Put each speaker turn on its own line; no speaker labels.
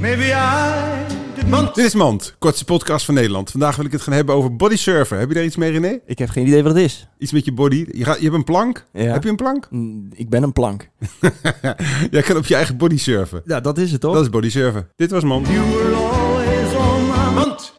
Maybe I did not
Dit is Mand, kortste podcast van Nederland. Vandaag wil ik het gaan hebben over bodysurfen. Heb je daar iets mee, René?
Ik heb geen idee wat het is.
Iets met je body? Je, gaat, je hebt een plank?
Ja.
Heb je een plank?
Mm, Ik ben een plank.
Jij kan op je eigen body surfen.
Ja, dat is het toch?
Dat is bodysurfen. Dit was Mand.
You were always on my mind.